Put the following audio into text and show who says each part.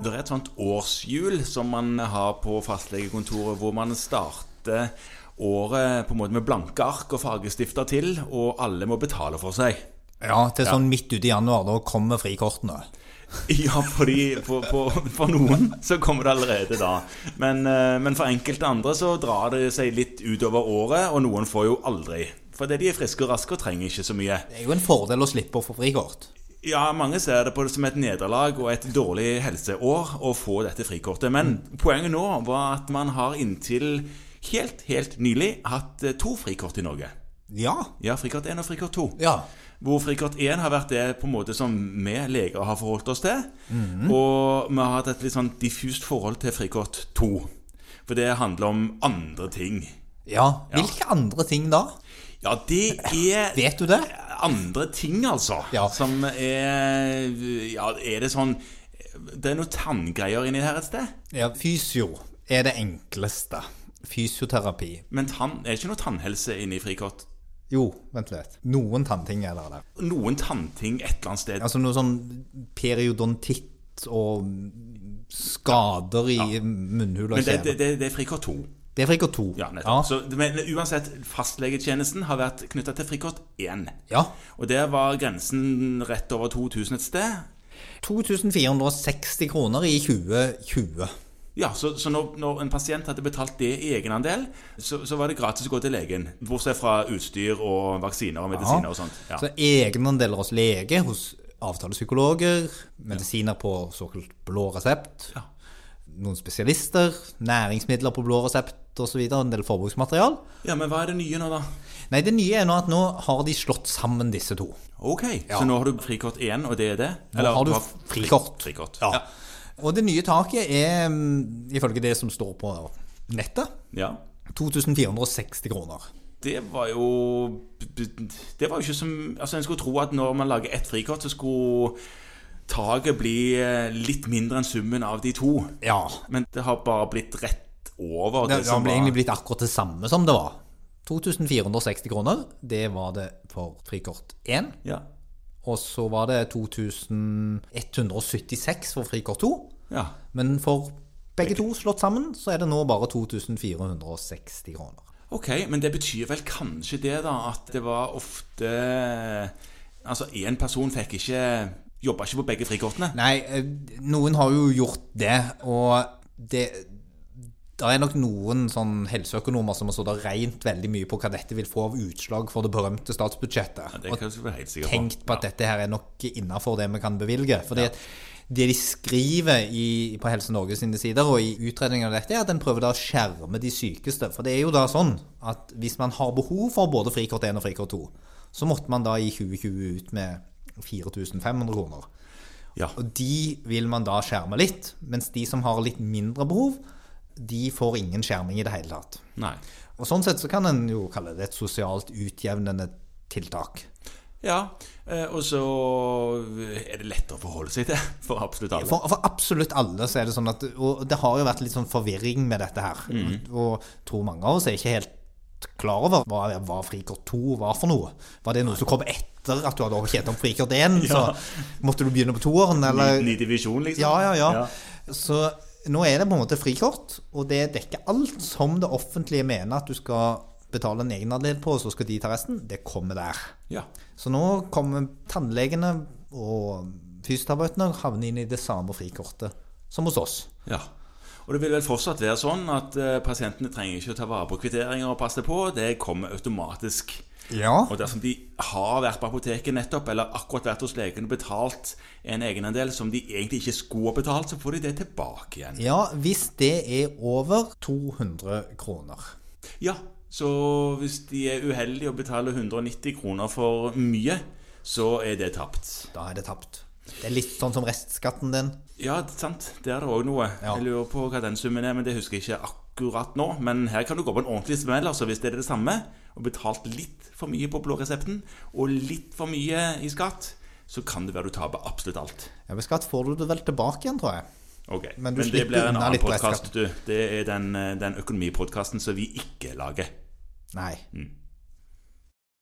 Speaker 1: det er et sånt årshjul som man har på fastlegekontoret, hvor man starter året på en måte med blanke ark og fargestifter til, og alle må betale for seg.
Speaker 2: Ja, til sånn midt ute i januar. Da kommer frikortene.
Speaker 1: Ja, fordi for, for, for noen så kommer det allerede da. Men, eh, men for enkelte andre så drar det seg litt utover året, og noen får jo aldri. Fordi de er friske og raske og trenger ikke så mye.
Speaker 2: Det er jo en fordel å slippe å få frikort.
Speaker 1: Ja, mange ser det på det som et nederlag og et dårlig helseår å få dette frikortet. Men poenget nå var at man har inntil helt, helt nylig hatt eh, to frikort i Norge.
Speaker 2: Ja.
Speaker 1: Ja, frikort 1 og frikort 2.
Speaker 2: Ja.
Speaker 1: Hvor frikort 1 har vært det på en måte som vi leger har forholdt oss til. Og vi har hatt et litt sånn diffust forhold til frikort 2. For det handler om andre ting.
Speaker 2: ja. Hvilke andre ting da?
Speaker 1: Ja, det er
Speaker 2: Vet du det?
Speaker 1: andre ting, altså.
Speaker 2: Ja.
Speaker 1: Som er Ja, er det sånn Det er noen tanngreier inni her et sted.
Speaker 2: Ja, fysio er det enkleste. Fysioterapi.
Speaker 1: Men tann, er det ikke noe tannhelse inni frikort?
Speaker 2: Jo, vent litt. Noen tannting er det der.
Speaker 1: Noen tannting et eller annet sted.
Speaker 2: Altså noe sånn periodontitt og skader i munnhul og
Speaker 1: Men det,
Speaker 2: kjeve.
Speaker 1: det, det, det er frikort 2.
Speaker 2: Det er frikort to.
Speaker 1: Ja,
Speaker 2: Ja.
Speaker 1: nettopp. Så, men uansett, fastlegetjenesten har vært knytta til frikort 1.
Speaker 2: ja.
Speaker 1: Og der var grensen rett over 2000 et sted.
Speaker 2: 2460 kroner i 2020.
Speaker 1: Ja, Så, så når, når en pasient hadde betalt det i egenandel, så, så var det gratis å gå til legen. Bortsett fra utstyr og vaksiner og medisiner og sånt. Ja.
Speaker 2: Så egenandeler hos lege, hos avtalepsykologer, medisiner på såkalt blå resept,
Speaker 1: Ja.
Speaker 2: noen spesialister, næringsmidler på blå resept osv., en del forbruksmaterial.
Speaker 1: ja, Men hva er det nye nå, da?
Speaker 2: Nei, det nye er nå at nå har de slått sammen disse to.
Speaker 1: Ok, Så nå har du frikort 1, og det er det?
Speaker 2: Nå har du
Speaker 1: fri-
Speaker 2: frikort.
Speaker 1: frikort.
Speaker 2: Ja. Og det nye taket er, mm, ifølge det som står på nettet,
Speaker 1: ja.
Speaker 2: 2460 kroner.
Speaker 1: Det var jo Det var jo ikke som Altså, en skulle tro at når man lager ett frikort, så skulle taket bli eh, litt mindre enn summen av de to.
Speaker 2: Ja.
Speaker 1: Men det har bare blitt rett over
Speaker 2: Det,
Speaker 1: det,
Speaker 2: det har
Speaker 1: som
Speaker 2: ble
Speaker 1: var
Speaker 2: egentlig blitt akkurat det samme som det var. 2460 kroner, det var det for frikort 1.
Speaker 1: ja.
Speaker 2: Og så var det 2176 for frikort 2.
Speaker 1: ja.
Speaker 2: Men for begge to slått sammen, så er det nå bare 2460 kroner.
Speaker 1: Ok, men det betyr vel kanskje det, da, at det var ofte Altså, én person fikk ikke Jobba ikke på begge frikortene.
Speaker 2: Nei, eh, noen har jo gjort det, og det det er nok noen sånn helseøkonomer som har stått og regnet veldig mye på hva dette vil få av utslag for det berømte statsbudsjettet.
Speaker 1: Det
Speaker 2: Og
Speaker 1: kan jeg være helt sikker på.
Speaker 2: tenkt på at dette her er nok innafor det vi kan bevilge. Fordi at det de skriver i, på Helse Norge sine sider og i utredningen av dette, er at en prøver da å skjerme de sykeste. For det er jo da sånn at hvis man har behov for både frikort 1 og frikort 2, så måtte man da i 2020 ut med 4500 kroner.
Speaker 1: Ja.
Speaker 2: Og de vil man da skjerme litt, mens de som har litt mindre behov, de får ingen skjerming i det hele tatt.
Speaker 1: Nei.
Speaker 2: Og sånn sett så kan en jo kalle det et sosialt utjevnende tiltak.
Speaker 1: Ja, eh, og så eh, er det lettere å forholde seg til for absolutt alle.
Speaker 2: For, for absolutt alle så er det sånn at Og det har jo vært litt sånn forvirring med dette her.
Speaker 1: Mhm.
Speaker 2: Og tror mange av oss er ikke helt klar over hva, hva frikort 2 var for noe. Var det noe som kom etter at du hadde tjent opp frikort 1? Så måtte du begynne på toeren, eller
Speaker 1: Ny divisjon, liksom?
Speaker 2: eh, ja, ja, ja, Så nå er det på en måte frikort, og det dekker alt som det offentlige mener at du skal betale en egenandel på, og så skal de ta resten. Det kommer der.
Speaker 1: Ja.
Speaker 2: Så nå kommer tannlegene og fysioterapeutene havne inn i det samme frikortet som hos oss.
Speaker 1: ja. Og det vil vel fortsatt være sånn at eh, pasientene trenger ikke å ta vare på kvitteringer og passe på. Det kommer automatisk.
Speaker 2: Ja.
Speaker 1: Og dersom de har vært på apoteket nettopp, eller akkurat vært hos legen og betalt en egenandel som de egentlig ikke skulle ha betalt, så får de det tilbake igjen.
Speaker 2: Ja, hvis det er over 200 kroner.
Speaker 1: Ja, så hvis de er uheldige og betaler 190 kroner for mye, så er det tapt.
Speaker 2: Da er det tapt. Det er litt sånn som restskatten din.
Speaker 1: Ja, sant. Det er det òg noe.
Speaker 2: Ja.
Speaker 1: Jeg lurer på hva den summen er, men det husker jeg ikke akkurat nå. Men her kan du gå på en ordentlig smell, altså, hvis det er det samme, og betalt litt for mye på blå resepten, og litt for mye i skatt, så kan det være du taper absolutt alt.
Speaker 2: Ja, Med skatt får du det vel tilbake igjen, tror jeg.
Speaker 1: Ok,
Speaker 2: Men
Speaker 1: Men,
Speaker 2: du
Speaker 1: det
Speaker 2: slipper
Speaker 1: blir en
Speaker 2: unna
Speaker 1: annen
Speaker 2: litt
Speaker 1: podkast, du. Det er den, eh, den økonomipodkasten som vi ikke lager.
Speaker 2: Nei.